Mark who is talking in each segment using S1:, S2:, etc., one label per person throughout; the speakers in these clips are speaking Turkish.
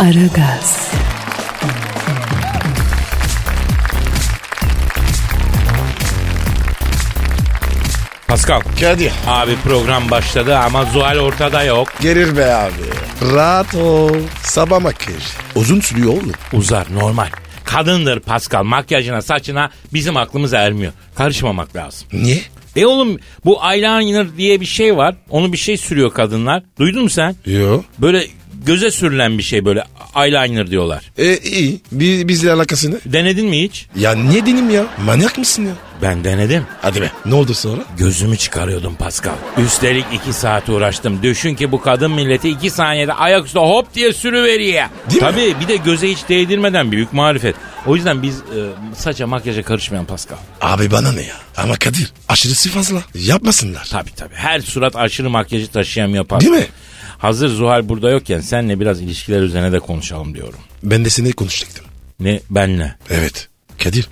S1: Aragaz,
S2: Pascal.
S3: Kadir.
S2: Abi program başladı ama Zuhal ortada yok.
S3: Gelir be abi. Rahat ol. Sabah makyaj. Uzun sürüyor oğlum.
S2: Uzar normal. Kadındır Pascal. Makyajına saçına bizim aklımız ermiyor. Karışmamak lazım.
S3: Niye?
S2: E oğlum bu eyeliner diye bir şey var. Onu bir şey sürüyor kadınlar. Duydun mu sen?
S3: Yo.
S2: Böyle göze sürülen bir şey böyle eyeliner diyorlar.
S3: E iyi. Bi- bizle alakası ne?
S2: Denedin mi hiç?
S3: Ya niye dedim ya? Manyak mısın ya?
S2: Ben denedim.
S3: Hadi be. Ne oldu sonra?
S2: Gözümü çıkarıyordum Pascal. Üstelik iki saat uğraştım. Düşün ki bu kadın milleti iki saniyede ayaküstü hop diye sürüveriyor.
S3: Değil mi?
S2: Tabii bir de göze hiç değdirmeden büyük marifet. O yüzden biz e, saça makyaja karışmayan Pascal.
S3: Abi bana ne ya? Ama Kadir aşırısı fazla. Yapmasınlar.
S2: Tabii tabii. Her surat aşırı makyajı taşıyamıyor Pascal.
S3: Değil mi?
S2: Hazır Zuhal burada yokken senle biraz ilişkiler üzerine de konuşalım diyorum.
S3: Ben de seninle konuşacaktım.
S2: Ne benle?
S3: Evet. Kadir.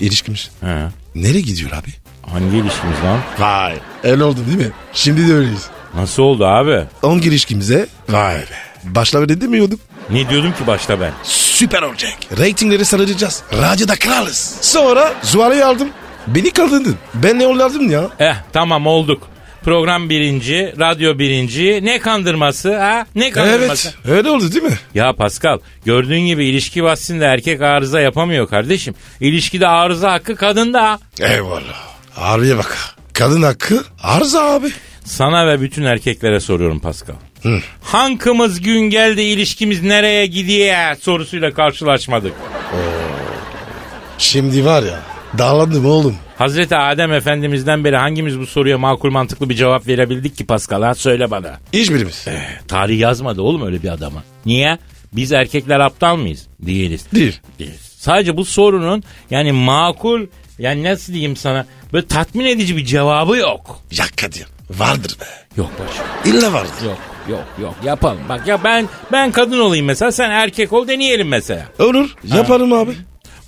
S3: İlişkimiz.
S2: He.
S3: Nereye gidiyor abi?
S2: Hangi ilişkimiz lan?
S3: Vay. El oldu değil mi? Şimdi de öyleyiz.
S2: Nasıl oldu abi?
S3: 10 girişkimize. Vay be. Başla öyle demiyordum.
S2: Ne diyordum ki başta ben?
S3: Süper olacak. Ratingleri saracağız. Radyoda kralız. Sonra Zuhal'i aldım. Beni kaldırdın. Ben ne olardım ya?
S2: Eh tamam olduk. Program birinci, radyo birinci. Ne kandırması ha? Ne kandırması?
S3: Evet. Öyle oldu değil mi?
S2: Ya Pascal gördüğün gibi ilişki bahsinde erkek arıza yapamıyor kardeşim. İlişkide arıza hakkı kadında.
S3: Eyvallah. Harbiye bak. Kadın hakkı arıza abi.
S2: Sana ve bütün erkeklere soruyorum Pascal.
S3: Hı.
S2: Hankımız gün geldi ilişkimiz nereye gidiyor sorusuyla karşılaşmadık.
S3: Şimdi var ya. Dağlandım oğlum.
S2: Hazreti Adem Efendimiz'den beri hangimiz bu soruya makul mantıklı bir cevap verebildik ki Pascal ha söyle bana.
S3: Hiçbirimiz.
S2: Tarih yazmadı oğlum öyle bir adama. Niye? Biz erkekler aptal mıyız? Değiliz.
S3: Değil.
S2: Değiliz. Sadece bu sorunun yani makul yani nasıl diyeyim sana böyle tatmin edici bir cevabı yok.
S3: Ya Kadir. Vardır be.
S2: Yok başım.
S3: İlla vardır.
S2: Yok yok yok yapalım. Bak ya ben ben kadın olayım mesela sen erkek ol deneyelim mesela.
S3: Olur. Yaparım abi.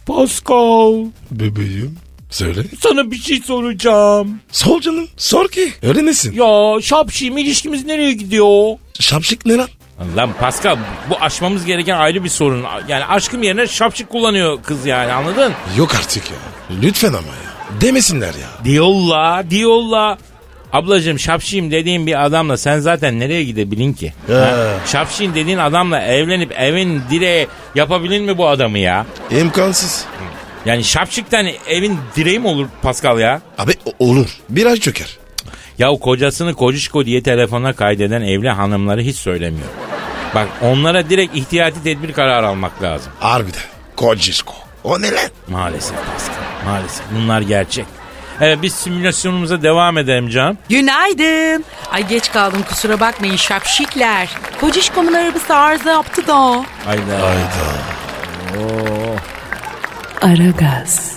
S2: Pascal
S3: Bebeğim. Söyle.
S2: sana bir şey soracağım.
S3: Sol canım. Sor ki. Öğrenesin.
S2: Ya şapşim ilişkimiz nereye gidiyor?
S3: Şapşik ne lan?
S2: Lan Pascal bu aşmamız gereken ayrı bir sorun. Yani aşkım yerine şapşık kullanıyor kız yani anladın?
S3: Yok artık ya. Lütfen ama ya. Demesinler ya.
S2: Diyolla, diyolla. Ablacığım şapşiyim dediğin bir adamla sen zaten nereye gidebilin ki? Ha? Şapşiyim dediğin adamla evlenip evin direği yapabilin mi bu adamı ya?
S3: İmkansız.
S2: Yani şapşikten evin direği mi olur Pascal ya?
S3: Abi o- olur. Biraz çöker.
S2: Ya kocasını kocişko diye telefona kaydeden evli hanımları hiç söylemiyor. Bak onlara direkt ihtiyati tedbir kararı almak lazım.
S3: Harbiden. Kocisko. O ne lan?
S2: Maalesef Pascal. Maalesef bunlar gerçek. Evet biz simülasyonumuza devam edelim canım.
S1: Günaydın. Ay geç kaldım kusura bakmayın şapşikler. Kocişkomun arabası arıza yaptı da.
S2: Hayda.
S1: Aragaz,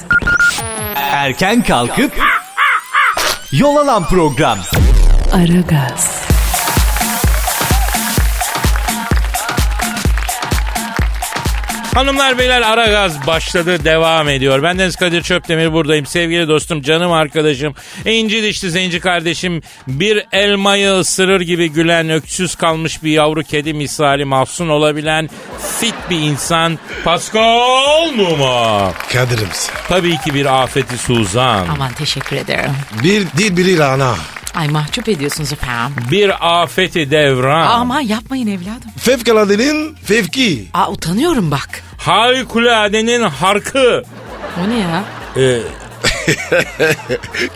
S4: Erken kalkıp yol alan program.
S1: Aragaz,
S2: Hanımlar beyler ara gaz başladı devam ediyor. Ben Deniz Kadir Çöptemir buradayım. Sevgili dostum, canım arkadaşım, inci dişli zenci kardeşim, bir elmayı ısırır gibi gülen, öksüz kalmış bir yavru kedi misali mahzun olabilen fit bir insan Pascal Numa.
S3: Kadir'im sen.
S2: Tabii ki bir afeti suzan,
S1: Aman teşekkür ederim.
S3: Bir dil biri ana.
S1: Ay mahcup ediyorsunuz efendim.
S2: bir afeti devran,
S1: Aman yapmayın evladım.
S3: Fevkaladenin fevki.
S1: Aa utanıyorum bak.
S2: harikuladenin harkı.
S1: O ne ya?
S2: Ee,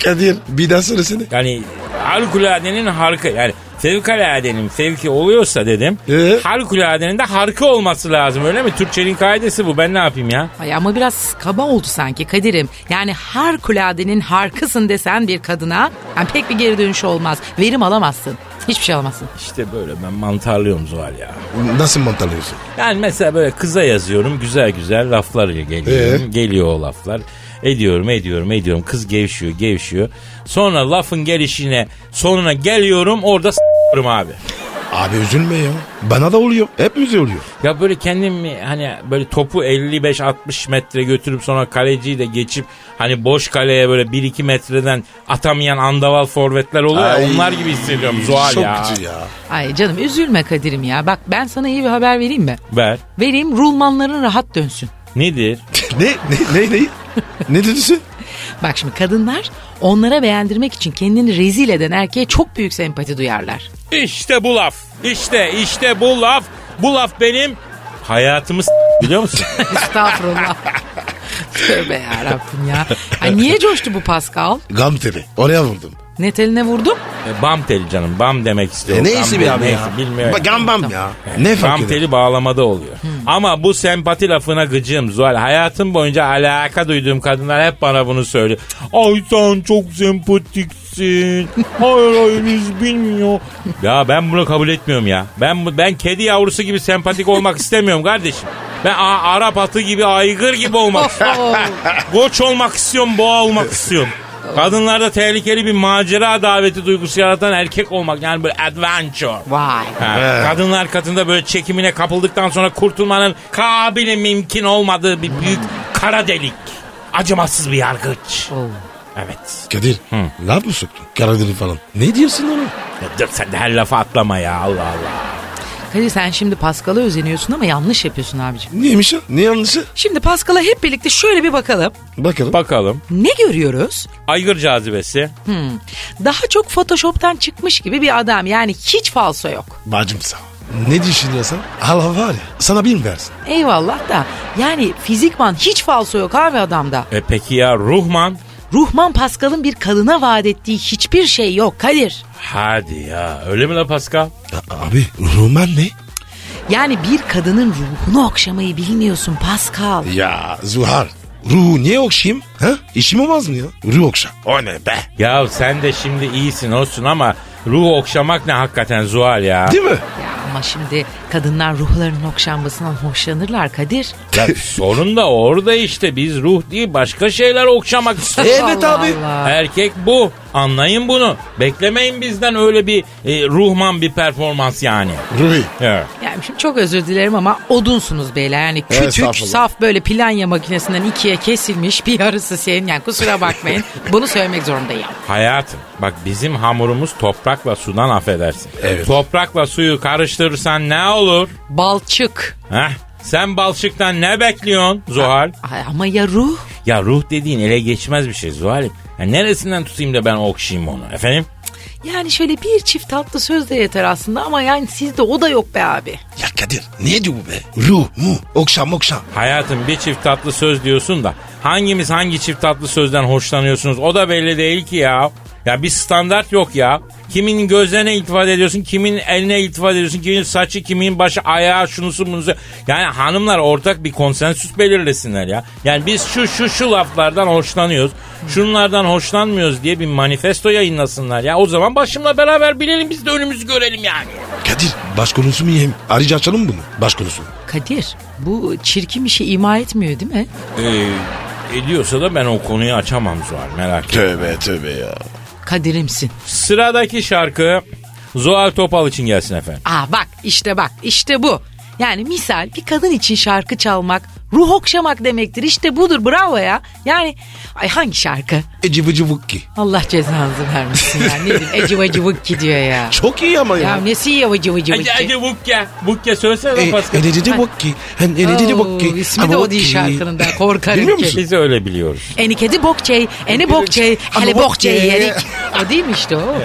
S3: Kadir bir daha söylesene.
S2: Yani harikuladenin harkı yani fevkaladenin fevki oluyorsa dedim.
S3: Ee?
S2: Harikuladenin de harkı olması lazım öyle mi? Türkçenin kaidesi bu ben ne yapayım ya?
S1: Ay ama biraz kaba oldu sanki Kadir'im. Yani harikuladenin harkısın desen bir kadına yani pek bir geri dönüş olmaz. Verim alamazsın. Hiçbir şey alamazsın.
S2: İşte böyle ben mantarlıyorum Zuhal ya.
S3: Nasıl mantarlıyorsun?
S2: Yani mesela böyle kıza yazıyorum güzel güzel laflar geliyor.
S3: Ee?
S2: Geliyor o laflar. Ediyorum ediyorum ediyorum. Kız gevşiyor gevşiyor. Sonra lafın gelişine sonuna geliyorum orada s**ırım abi.
S3: Abi üzülme ya. Bana da oluyor. Hepimize oluyor.
S2: Ya böyle kendimi hani böyle topu 55-60 metre götürüp sonra kaleciyi de geçip hani boş kaleye böyle 1-2 metreden atamayan andaval forvetler oluyor ya,
S3: Ay.
S2: onlar gibi hissediyorum Zuhal
S3: Çok
S2: ya.
S3: kötü ya.
S1: Ay canım üzülme Kadir'im ya. Bak ben sana iyi bir haber vereyim mi?
S2: Ver.
S1: Vereyim rulmanların rahat dönsün.
S2: Nedir?
S3: ne? Ne? Ne? Ne? ne dedin sen?
S1: Bak şimdi kadınlar onlara beğendirmek için kendini rezil eden erkeğe çok büyük sempati duyarlar.
S2: İşte bu laf. İşte işte bu laf. Bu laf benim hayatımı s- biliyor musun?
S1: Estağfurullah. Tövbe yarabbim ya. Ay niye coştu bu Pascal?
S3: Gamtepe. Oraya vurdum.
S1: Ne teline vurdum?
S2: E, bam teli canım. Bam demek istiyorum.
S3: E,
S2: Bam
S3: neyse
S2: teli,
S3: bir abi ya.
S2: neyse, Bilmiyorum.
S3: Bak gambam ya. Ne fark
S2: Bam
S3: eder?
S2: teli bağlamada oluyor. Ama bu sempati lafına gıcığım Zuhal. Hayatım boyunca alaka duyduğum kadınlar hep bana bunu söylüyor. Ay sen çok sempatiksin. Hayır hayırınız bilmiyor. Ya ben bunu kabul etmiyorum ya. Ben bu- ben kedi yavrusu gibi sempatik olmak istemiyorum kardeşim. Ben a- Arap atı gibi aygır gibi olmak istiyorum. Koç olmak istiyorum, boğa olmak istiyorum. Kadınlarda tehlikeli bir macera daveti duygusu yaratan erkek olmak yani böyle adventure.
S1: Vay.
S2: Ha, kadınlar katında böyle çekimine kapıldıktan sonra kurtulmanın kabili mümkün olmadığı bir büyük kara delik. Acımasız bir yargıç.
S1: Oo.
S2: Evet.
S3: Kadir. Laf mı soktun? Karadeli falan. Ne diyorsun ona?
S2: Ya Dur sen de her lafa atlama ya Allah Allah.
S1: Kadir sen şimdi Pascal'a özeniyorsun ama yanlış yapıyorsun abicim.
S3: Neymiş o? Ne yanlışı?
S1: Şimdi Pascal'a hep birlikte şöyle bir bakalım.
S3: Bakalım.
S2: Bakalım.
S1: Ne görüyoruz?
S2: Aygır cazibesi.
S1: Daha çok Photoshop'tan çıkmış gibi bir adam. Yani hiç falso yok.
S3: Bacım sağ ol. Ne düşünüyorsan Allah var ya sana bin versin.
S1: Eyvallah da yani fizikman hiç falso yok abi adamda.
S2: E peki ya Ruhman?
S1: Ruhman Pascal'ın bir kadına vaat ettiği hiçbir şey yok Kadir.
S2: Hadi ya öyle mi la Pascal?
S3: Ya abi Roman ne?
S1: Yani bir kadının ruhunu okşamayı bilmiyorsun Pascal.
S3: Ya Zuhar ruhu niye okşayayım? Ha? İşim olmaz mı ya? Ruh okşa. O ne be?
S2: Ya sen de şimdi iyisin olsun ama ruh okşamak ne hakikaten Zuhal ya.
S3: Değil mi?
S1: Ya ama şimdi kadınlar ruhlarının okşanmasından hoşlanırlar Kadir.
S2: Ya sorun da orada işte biz ruh değil başka şeyler okşamak istiyoruz.
S3: Evet
S1: Allah
S3: abi.
S1: Allah.
S2: Erkek bu. Anlayın bunu. Beklemeyin bizden öyle bir e, ruhman bir performans yani.
S3: Ruhi.
S2: Evet.
S1: Yani şimdi çok özür dilerim ama odunsunuz beyler. Yani küçük,
S3: Estağfurullah.
S1: saf böyle planya makinesinden ikiye kesilmiş bir yarısı senin. Yani kusura bakmayın. Bunu söylemek zorundayım.
S2: Hayatım bak bizim hamurumuz toprakla sudan affedersin.
S3: Evet.
S2: Toprakla suyu karıştırırsan ne olur?
S1: Balçık.
S2: Heh. Sen balçıktan ne bekliyorsun Zuhal?
S1: Ay ama ya ruh?
S2: Ya ruh dediğin ele geçmez bir şey Zuhal'im. Ya neresinden tutayım da ben okşayayım onu efendim?
S1: Yani şöyle bir çift tatlı söz de yeter aslında ama yani sizde o da yok be abi.
S3: Ya Kadir ne diyor bu be? Ruh mu? Okşa mokşa.
S2: Hayatım bir çift tatlı söz diyorsun da hangimiz hangi çift tatlı sözden hoşlanıyorsunuz o da belli değil ki ya. Ya bir standart yok ya. Kimin gözlerine iltifat ediyorsun, kimin eline iltifat ediyorsun, kimin saçı, kimin başı, ayağı, şunusu, bunusu. Yani hanımlar ortak bir konsensüs belirlesinler ya. Yani biz şu şu şu laflardan hoşlanıyoruz, şunlardan hoşlanmıyoruz diye bir manifesto yayınlasınlar ya. O zaman başımla beraber bilelim biz de önümüzü görelim yani.
S3: Kadir baş konusu mu yiyeyim? Ayrıca açalım mı bunu? Baş konusu.
S1: Kadir bu çirkin bir şey ima etmiyor değil mi?
S2: Ee, ediyorsa da ben o konuyu açamam Zuhal merak etme.
S3: Tövbe tövbe ya.
S1: Kadir'imsin.
S2: Sıradaki şarkı Zuhal Topal için gelsin efendim.
S1: Aa bak işte bak işte bu. Yani misal bir kadın için şarkı çalmak, ruh okşamak demektir. İşte budur bravo ya. Yani ay hangi şarkı?
S3: Eci vıcı vıkki.
S1: Allah cezanızı vermesin ya. Ne diyeyim eci vacı vıkki diyor ya.
S3: Çok iyi ama
S1: Ya
S3: ya.
S1: nesi ya vıcı vıcı
S2: Hadi
S1: vıkki?
S2: hadi Bukke. Bukke söylesene
S3: E,
S2: Pascal.
S3: Eci vıcı vıkki. Hem Eci vıcı vıkki.
S1: Oo, ismi
S3: Ama
S1: de o değil
S3: vıkki.
S1: şarkının da, korkarım
S3: Bilmiyor
S1: ki.
S3: musun?
S2: Biz öyle biliyoruz.
S1: Eni kedi bokçey, eni bokçey,
S3: Ama
S1: hele bokçey
S3: bokçey.
S1: yenik. O değil mi işte o?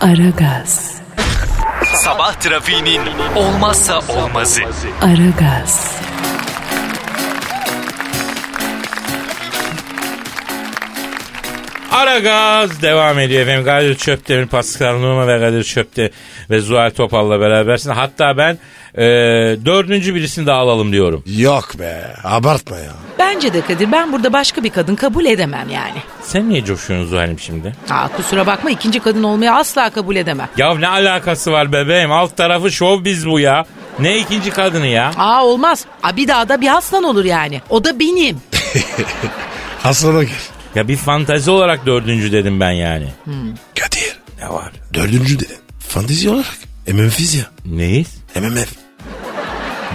S5: Aragaz,
S4: Sabah trafiğinin olmazsa olmazı.
S5: Aragaz,
S2: Aragaz Ara gaz devam ediyor efendim. Kadir Çöptemir, Pascal Numa ve Kadir Çöpte ve Zuhal Topal'la berabersin. Hatta ben e, dördüncü birisini daha alalım diyorum.
S3: Yok be abartma ya.
S1: Bence de Kadir ben burada başka bir kadın kabul edemem yani.
S2: Sen niye coşuyorsun Zuhal'im şimdi?
S1: Aa, kusura bakma ikinci kadın olmayı asla kabul edemem.
S2: Ya ne alakası var bebeğim? Alt tarafı şov biz bu ya. Ne ikinci kadını ya?
S1: Aa olmaz. Abi dağda bir aslan olur yani. O da benim.
S3: Aslana gel.
S2: Ya bir fantezi olarak dördüncü dedim ben yani.
S3: Kadir.
S2: Ne var?
S3: Dördüncü dedin. Fantezi olarak. MMF'iz ya.
S2: Neyiz?
S3: MMF.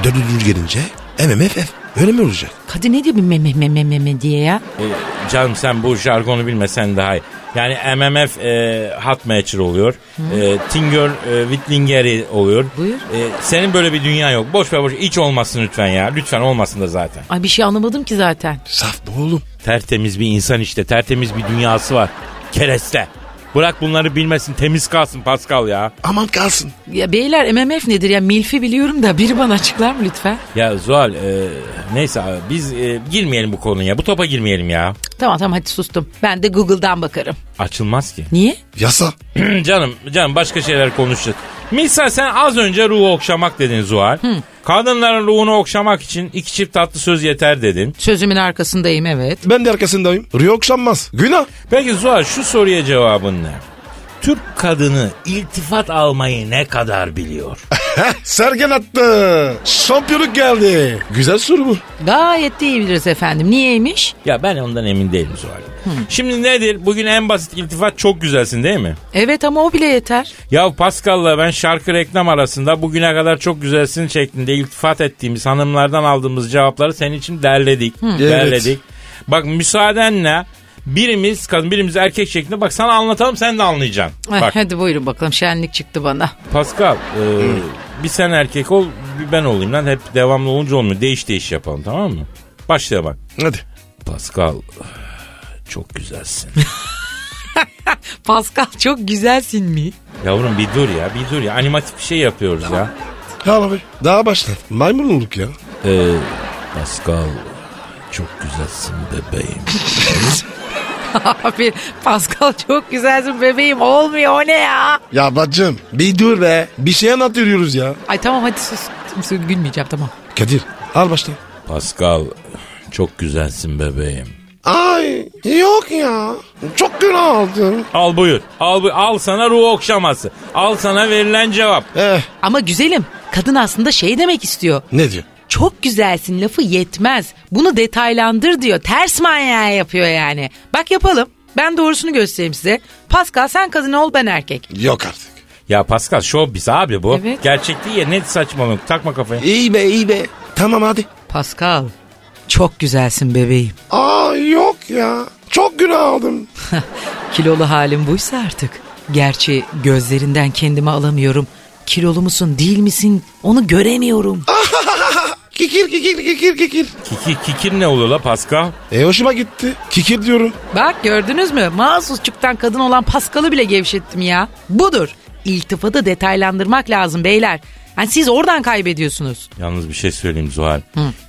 S3: Dördüncü gelince MMFF. Öyle mi olacak?
S1: Kadir ne diyor bir meme meme meme diye ya?
S2: E, canım sen bu jargonu bilmesen daha iyi. Yani MMF e, hot matcher oluyor. E, Tinger e, Whitlingeri oluyor.
S1: Buyur.
S2: E, senin böyle bir dünya yok. Boş ver boş. ver. Hiç olmasın lütfen ya. Lütfen olmasın da zaten.
S1: Ay bir şey anlamadım ki zaten.
S3: Saf bu oğlum.
S2: Tertemiz bir insan işte. Tertemiz bir dünyası var. Kereste. Bırak bunları bilmesin. Temiz kalsın Pascal ya.
S3: Aman kalsın.
S1: Ya beyler MMF nedir ya? Milfi biliyorum da biri bana açıklar mı lütfen?
S2: Ya Zuhal e, neyse abi, biz e, girmeyelim bu konuya. Bu topa girmeyelim ya.
S1: Tamam tamam hadi sustum. Ben de Google'dan bakarım.
S2: Açılmaz ki.
S1: Niye?
S3: Yasa.
S2: canım canım başka şeyler konuşacağız. Misal sen az önce ruhu okşamak dedin Zuhal. Kadınların ruhunu okşamak için iki çift tatlı söz yeter dedin.
S1: Sözümün arkasındayım evet.
S3: Ben de arkasındayım. Rüya okşanmaz. Günah.
S2: Peki Zuhal şu soruya cevabın ne? Türk kadını iltifat almayı ne kadar biliyor?
S3: Heh, Sergen attı. Şampiyonluk geldi. Güzel soru bu.
S1: Gayet de iyi biliriz efendim. Niyeymiş?
S2: ya ben ondan emin değilim Zuhal. Şimdi nedir? Bugün en basit iltifat çok güzelsin değil mi?
S1: Evet ama o bile yeter.
S2: Ya Pascal'la ben şarkı reklam arasında bugüne kadar çok güzelsin şeklinde iltifat ettiğimiz hanımlardan aldığımız cevapları senin için derledik. Derledik. Bak müsaadenle birimiz kadın birimiz erkek şeklinde bak sana anlatalım sen de anlayacaksın.
S1: Ay,
S2: Bak
S1: hadi buyurun bakalım şenlik çıktı bana.
S2: Pascal e, bir sen erkek ol bir ben olayım lan hep devamlı olunca olmuyor. Değiş değiş yapalım tamam mı? Başla bak.
S3: Hadi.
S2: Pascal çok güzelsin.
S1: Pascal çok güzelsin mi?
S2: Yavrum bir dur ya bir dur ya animatif bir şey yapıyoruz ya.
S3: Ya abi. Daha başla. Maymun olduk ya.
S2: Ee, Pascal çok güzelsin bebeğim.
S1: Abi Pascal çok güzelsin bebeğim olmuyor o ne ya?
S3: Ya bacım bir dur be. Bir şey anlatıyoruz ya.
S1: Ay tamam hadi sus. Sus, Gülmeyeceğim tamam.
S3: Kadir al başla.
S2: Pascal çok güzelsin bebeğim.
S3: Ay yok ya. Çok günah aldım.
S2: Al buyur. Al bu al sana ruh okşaması. Al sana verilen cevap.
S3: Eh
S1: Ama güzelim kadın aslında şey demek istiyor.
S3: ne diyor?
S1: Çok güzelsin lafı yetmez. Bunu detaylandır diyor. Ters manyağı yapıyor yani. Bak yapalım. Ben doğrusunu göstereyim size. Pascal sen kadın ol ben erkek.
S3: Yok artık.
S2: Ya Pascal şov biz abi bu.
S1: Evet.
S2: Gerçek değil ya ne saçmalık takma kafaya.
S3: İyi be iyi be. Tamam hadi.
S1: Pascal çok güzelsin bebeğim.
S3: Aa yok ya. Çok günah aldım.
S1: Kilolu halim buysa artık. Gerçi gözlerinden kendimi alamıyorum. Kilolu musun değil misin onu göremiyorum.
S3: Kikir kikir kikir kikir.
S2: Kikir, kikir ne oluyor la Pascal?
S3: E hoşuma gitti. Kikir diyorum.
S1: Bak gördünüz mü? Mahsusçuktan kadın olan Paskal'ı bile gevşettim ya. Budur. İltifatı detaylandırmak lazım beyler. Yani siz oradan kaybediyorsunuz.
S2: Yalnız bir şey söyleyeyim Zuhal.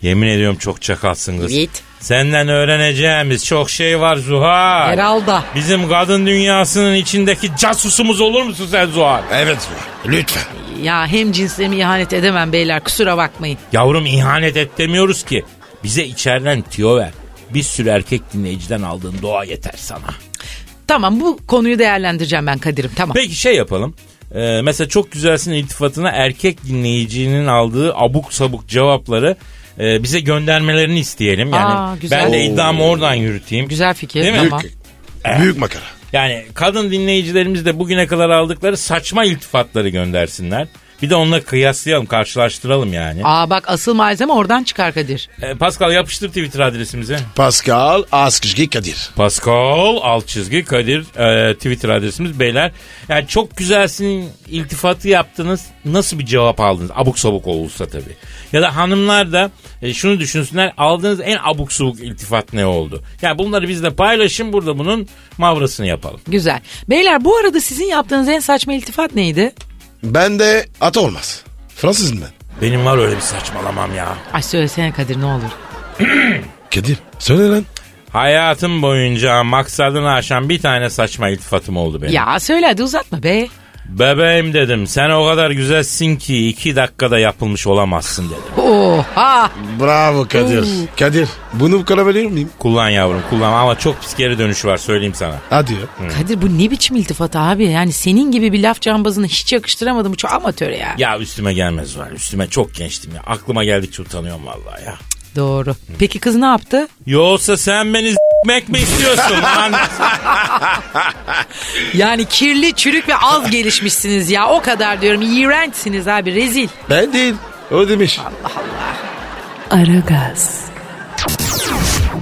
S2: Yemin ediyorum çok çakalsın kız.
S1: Evet.
S2: Senden öğreneceğimiz çok şey var Zuhal.
S1: Herhalde.
S2: Bizim kadın dünyasının içindeki casusumuz olur musun sen Zuhal?
S3: Evet lütfen.
S1: Ya hem cinslerime ihanet edemem beyler kusura bakmayın.
S2: Yavrum ihanet et demiyoruz ki. Bize içeriden tüyo ver. Bir sürü erkek dinleyiciden aldığın doğa yeter sana.
S1: Tamam bu konuyu değerlendireceğim ben Kadir'im tamam.
S2: Peki şey yapalım. Ee, mesela çok güzelsin iltifatına erkek dinleyicinin aldığı abuk sabuk cevapları e, bize göndermelerini isteyelim. Yani
S1: Aa, güzel.
S2: ben de iddiamı oradan yürüteyim.
S1: Güzel fikir
S2: Değil mi?
S1: tamam.
S3: Büyük makara.
S2: Yani kadın dinleyicilerimiz de bugüne kadar aldıkları saçma iltifatları göndersinler. Bir de onunla kıyaslayalım, karşılaştıralım yani.
S1: Aa bak asıl malzeme oradan çıkar Kadir.
S2: Ee, Pascal yapıştır Twitter adresimizi.
S3: Pascal Askışki Kadir.
S2: Pascal alt çizgi Kadir e, Twitter adresimiz beyler. Yani çok güzelsin iltifatı yaptınız. Nasıl bir cevap aldınız? Abuk sabuk olursa tabii. Ya da hanımlar da e, şunu düşünsünler. Aldığınız en abuk sabuk iltifat ne oldu? Yani bunları bizle paylaşın. Burada bunun mavrasını yapalım.
S1: Güzel. Beyler bu arada sizin yaptığınız en saçma iltifat neydi?
S3: Ben de ata olmaz. Fransızım ben.
S2: Benim var öyle bir saçmalamam ya.
S1: Ay söylesene Kadir ne olur.
S3: Kadir söyle lan.
S2: Hayatım boyunca maksadını aşan bir tane saçma iltifatım oldu benim.
S1: Ya söyle hadi uzatma be.
S2: Bebeğim dedim sen o kadar güzelsin ki iki dakikada yapılmış olamazsın dedim.
S1: Oha.
S3: Bravo Kadir. Kadir bunu kalabilir miyim?
S2: Kullan yavrum kullan ama çok pis geri dönüşü var söyleyeyim sana.
S3: Hadi ya.
S1: Kadir bu ne biçim iltifat abi? Yani senin gibi bir laf cambazını hiç yakıştıramadım. Çok amatör ya.
S2: Ya üstüme gelmez var üstüme çok gençtim ya aklıma geldikçe utanıyorum vallahi ya.
S1: Doğru. Peki kız ne yaptı?
S2: Yoksa sen beni z**mek mi istiyorsun lan?
S1: Yani kirli, çürük ve az gelişmişsiniz ya. O kadar diyorum. İğrençsiniz abi. Rezil.
S3: Ben değil. O demiş.
S5: Aragaz,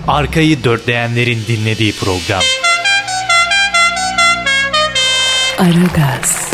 S4: Arkayı dörtleyenlerin dinlediği program.
S5: Aragaz,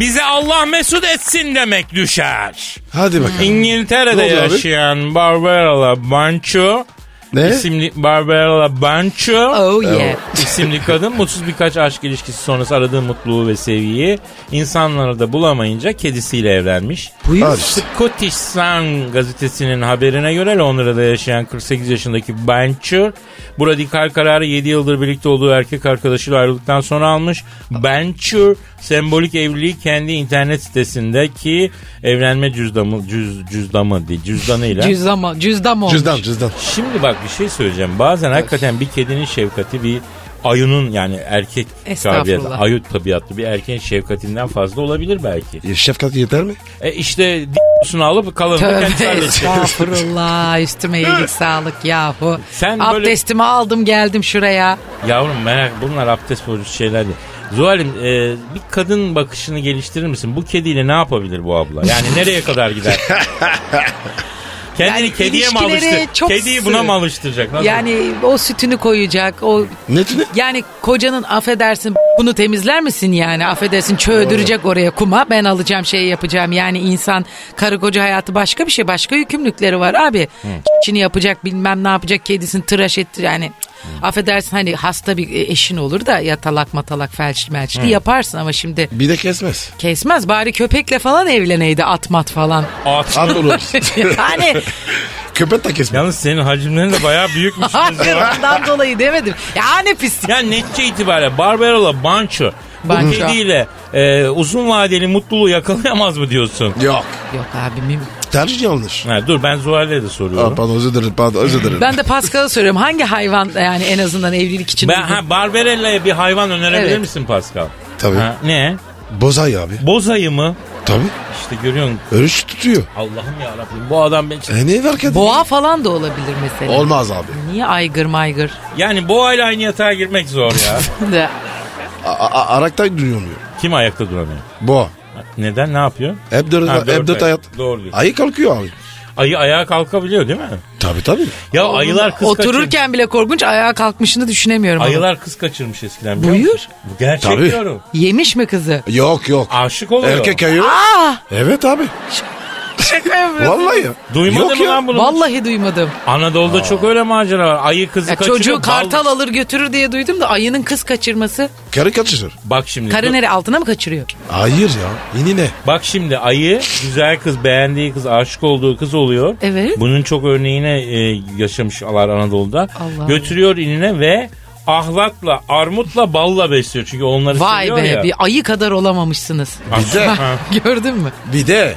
S2: Bize Allah mesut etsin demek düşer.
S3: Hadi bakalım.
S2: İngiltere'de
S3: Ne oluyor abi?
S2: yaşayan Barbara Bancho
S3: Ne?
S2: isimli Barbara Bancho
S1: Oh yeah.
S2: isimli kadın mutsuz birkaç aşk ilişkisi sonrası aradığı mutluluğu ve sevgiyi insanları da bulamayınca kedisiyle evlenmiş.
S3: Al işte.
S2: Scottish Sun gazetesinin haberine göre Londra'da yaşayan 48 yaşındaki Bencher bu radikal kararı 7 yıldır birlikte olduğu erkek arkadaşıyla ayrıldıktan sonra almış. Bencher sembolik evliliği kendi internet sitesindeki evlenme cüzdanı cüz, cüzdanı değil cüzdanıyla.
S1: Cüzdam, cüzdam olmuş.
S3: Cüzdan cüzdan.
S2: Şimdi bak bir şey söyleyeceğim. Bazen hakikaten bir kedinin şefkati bir ayının yani erkek
S1: Estağfurullah.
S2: tabiatı, ayı tabiatlı bir erkeğin şefkatinden fazla olabilir belki.
S3: E, Şefkat yeter mi?
S2: E işte d***sunu alıp kalanını kendisi
S1: Tövbe
S2: halledecek.
S1: estağfurullah üstüme iyilik sağlık yahu.
S2: Sen böyle-
S1: Abdestimi aldım geldim şuraya.
S2: Yavrum merak bunlar abdest bozucu şeyler değil. Zuhal'im e, bir kadın bakışını geliştirir misin? Bu kediyle ne yapabilir bu abla? Yani nereye kadar gider? Kendini
S1: Yani
S2: kediye mi
S1: ilişkileri
S2: alıştır?
S1: çok
S2: Kediyi buna
S1: sığ.
S2: mı alıştıracak? Nasıl?
S1: Yani o sütünü koyacak o
S3: Ne tüne?
S1: yani kocanın affedersin bunu temizler misin yani affedersin çöğdürecek oraya kuma ben alacağım şeyi yapacağım yani insan karı koca hayatı başka bir şey başka yükümlülükleri var abi Çini yapacak bilmem ne yapacak kedisini tıraş ettir yani affedersin hani hasta bir eşin olur da yatalak matalak felçli melçli yaparsın ama şimdi
S3: Bir de kesmez.
S1: Kesmez bari köpekle falan evleneydi atmat falan.
S2: At.
S3: Al olur.
S1: yani
S3: Köpek de kesmez.
S2: Yalnız senin hacimlerin de bayağı büyükmüş.
S1: hayır ondan dolayı demedim. Yani pislik.
S2: yani netice itibariyle Barbarola Bancho bu
S1: Bancho.
S2: kediyle e, uzun vadeli mutluluğu yakalayamaz mı diyorsun?
S3: Yok.
S1: Yok abi mim-
S3: Tercih yanlış.
S2: Ha, dur ben Zuhal'e de soruyorum.
S3: Aa, pardon özür dilerim. Pardon özür dilerim.
S1: Ben de Pascal'a soruyorum hangi hayvan yani en azından evlilik için
S2: Ben,
S1: uygun?
S2: ha, Barbarella'ya bir hayvan önerebilir
S1: Evet.
S2: misin Pascal?
S3: Tabii.
S2: Ha, ne?
S3: Bozay abi.
S2: Bozayı mı?
S3: Tabii.
S2: İşte görüyorsun
S3: Örüş tutuyor.
S2: Allah'ım ya Rabbim bu adam ben...
S3: E ne var kadın?
S1: Boğa falan da olabilir mesela.
S3: Olmaz abi.
S1: Niye aygır maygır?
S2: Yani boğayla aynı yatağa girmek zor ya.
S1: De-
S3: A- a- Arakta duruyor.
S2: Kim ayakta duramıyor?
S3: Boğa.
S2: Neden ne yapıyor?
S3: Hep dört,
S2: Ha,
S3: hep dört
S2: dört ayak.
S3: hayat.
S2: Doğru diyorsun.
S3: Ayı kalkıyor abi.
S2: Ayı ayağa kalkabiliyor değil mi?
S3: Tabii tabii.
S2: Ya ayılar kız kaçırmış.
S1: Otururken bile korkunç ayağa kalkmışını düşünemiyorum. ama.
S2: Ayılar kız kaçırmış eskiden biliyor
S1: Buyur.
S2: musun? Bu gerçek
S3: Tabii.
S2: diyorum.
S1: Yemiş mi kızı?
S3: Yok yok.
S2: Aşık oluyor.
S3: Erkek ayı. Ah! Evet abi.
S1: Şaka yapıyorum.
S3: Vallahi. ya.
S2: Duymadın
S3: Yok
S2: mı
S3: ya.
S2: lan bunu?
S1: Vallahi duymadım.
S2: Anadolu'da çok öyle macera var. Ayı kızı
S1: Ya
S2: kaçırıyor.
S1: çocuğu
S2: bal-
S1: kartal alır götürür diye duydum da ayının kız kaçırması.
S3: Karı kaçırır.
S2: Bak şimdi.
S1: Karı nereye altına mı kaçırıyor?
S3: Hayır ya. Yenine.
S2: Bak şimdi ayı güzel kız, beğendiği kız, aşık olduğu kız oluyor.
S1: Evet.
S2: Bunun çok örneğine e, yaşamışlar Anadolu'da.
S1: Allah
S2: Götürüyor inine ve ahlatla, armutla, balla besliyor. Çünkü onları
S1: Vay
S2: seviyor
S1: be
S2: ya.
S1: bir ayı kadar olamamışsınız.
S2: Bir de-
S1: Ha, Gördün mü?
S3: Bir de.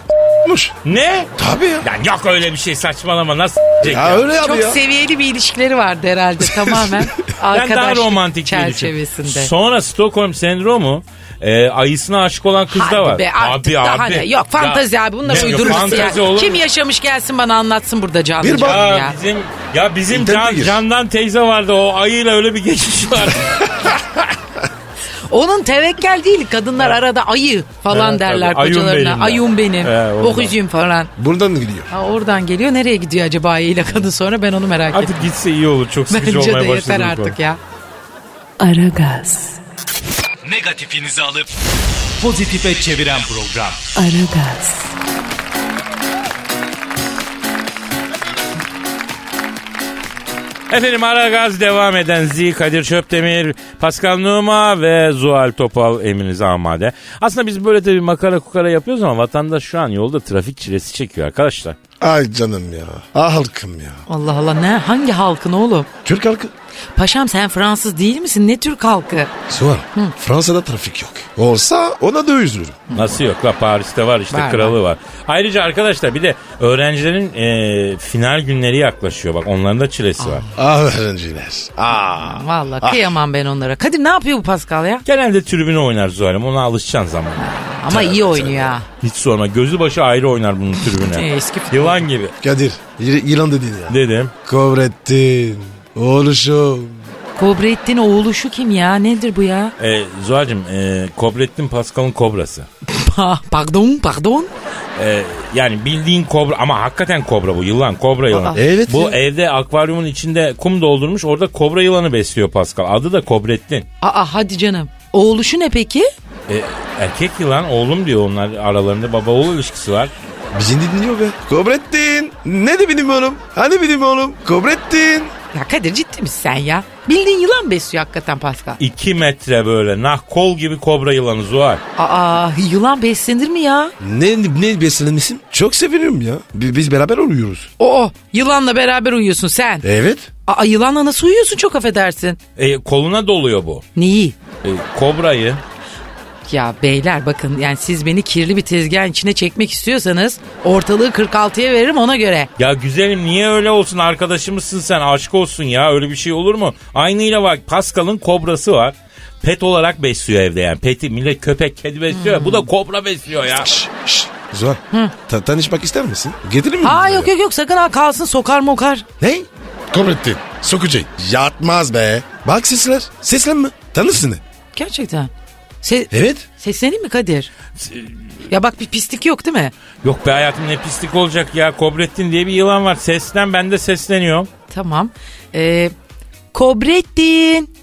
S3: Muş.
S2: Ne?
S3: Tabii ya.
S2: Yani yok öyle bir şey saçmalama nasıl diyecek
S3: Ya
S2: ya?
S3: öyle abi
S1: Çok
S3: ya.
S1: seviyeli bir ilişkileri vardı herhalde tamamen.
S2: Ben daha
S1: arkadaşlık
S2: romantik diye
S1: çerçevesinde.
S2: düşünüyorum. Sonra Stockholm sendromu e, ayısına aşık olan kız da
S1: Hadi
S2: var.
S1: be, artık daha ne? Yok fantazi
S2: Ya-
S1: abi bunlar
S2: Ne,
S1: uydurması ya.
S2: fantazi olur
S1: Kim
S2: mu?
S1: yaşamış gelsin bana anlatsın burada canlı
S3: Bir bak-
S1: canlı
S2: Ya
S1: ya.
S2: bizim ya bizim
S3: İnternete
S2: Can-
S3: gir.
S2: Candan teyze vardı o ayıyla öyle bir geçiş var.
S1: Onun tevekkel değil kadınlar arada ayı falan
S2: Evet,
S1: derler
S2: tabii. Ayun
S1: kocalarına.
S2: benim ya.
S1: Ayun benim.
S2: He, ondan.
S1: Okuzuyum falan.
S3: Buradan gidiyor.
S1: Ha, oradan geliyor nereye gidiyor acaba ayıyla kadın sonra ben onu merak ettim.
S2: Artık gitse iyi olur çok sıkıcı
S1: Bence
S2: olmaya
S1: de
S2: başladı.
S1: yeter
S2: bu
S1: artık
S2: konu.
S1: ya.
S5: Aragaz,
S4: Negatifinizi alıp pozitife çeviren program.
S5: Aragaz,
S2: Efendim Aragaz devam eden Z Kadir Çöptemir, Pascal Numa ve Zuhal Topal emrinize amade. Aslında biz böyle de bir makara kukara yapıyoruz ama vatandaş şu an yolda trafik çilesi çekiyor arkadaşlar.
S3: Ay canım ya. Ah halkım ya.
S1: Allah Allah ne hangi halkın oğlum?
S3: Türk halkı.
S1: Paşam sen Fransız değil misin? Ne Türk halkı?
S3: Sual. Fransa'da trafik yok. Olsa ona da üzülürüm.
S2: Nasıl yok? La Paris'te var işte
S1: Var,
S2: kralı var. Ayrıca arkadaşlar bir de öğrencilerin e, final günleri yaklaşıyor bak onların da çilesi var.
S3: Ah öğrenciler. Ah.
S1: Vallahi kıyamam ben onlara. Kadir ne yapıyor bu Pascal ya?
S2: Genelde tribüne oynar Zuhal'im ona alışacaksın zamanla.
S1: Ama iyi oynuyor ha.
S2: Hiç sorma gözü başı ayrı oynar bunun tribüne.
S1: Eski futbol.
S2: Yılan gibi
S3: Kadir. y- Yılan dedin ya.
S2: dedim.
S3: Kovrettin. Oğluşum.
S1: Kobrettin oğlu şu kim ya? Nedir bu ya?
S2: E, Zuhal'cim e, Kobrettin Pascal'ın kobrası.
S1: Pa- pardon pardon.
S2: E, yani bildiğin kobra ama hakikaten kobra bu yılan kobra yılan.
S3: evet
S2: Bu
S3: ya.
S2: evde akvaryumun içinde kum doldurmuş orada kobra yılanı besliyor Pascal. Adı da Kobrettin.
S1: Aa hadi canım. Oğlu şu ne peki?
S2: E, erkek yılan oğlum diyor onlar aralarında baba oğul ilişkisi var.
S3: Bizi dinliyor be. Kobrettin. Ne de benim oğlum? Hani benim oğlum? Kobrettin.
S1: Ya Kadir ciddi misin sen ya? Bildiğin yılan besliyor hakikaten Pascal.
S2: 2 metre böyle nah kol gibi kobra yılanı Zuhal.
S1: Aa yılan beslenir mi ya?
S3: Ne, ne beslenmişsin? Çok sevinirim ya. Bi- Biz beraber uyuyoruz.
S1: Oo yılanla beraber uyuyorsun sen.
S3: Evet.
S1: Aa yılanla nasıl uyuyorsun çok affedersin.
S2: E, koluna doluyor bu.
S1: Neyi?
S2: E, kobrayı.
S1: Ya beyler bakın yani siz beni kirli bir tezgahın içine çekmek istiyorsanız ortalığı 46'ya veririm ona göre.
S2: Ya güzelim niye öyle olsun arkadaşımızsın sen aşk olsun ya öyle bir şey olur mu? Aynıyla bak Pascal'ın kobrası var. Pet olarak besliyor evde yani. Peti millet köpek kedi besliyor ya. Bu da kobra besliyor ya.
S3: Şşş. şşş. Zuhal. ta- tanışmak ister misin? Getirir mi?
S1: Aa yok yok yok sakın ha kalsın sokar mokar.
S3: Ne? Kobrettin. Sokucu. Yatmaz be. Bak sesler. Seslen mi? Tanırsın.
S1: Gerçekten. Se
S3: Evet.
S1: sesleneyim mi Kadir? Ya bak bir pislik yok değil mi?
S2: Yok be hayatım ne pislik olacak ya. Kobrettin diye bir yılan var. Seslen ben de sesleniyorum.
S1: Tamam. Ee, Kobrettin.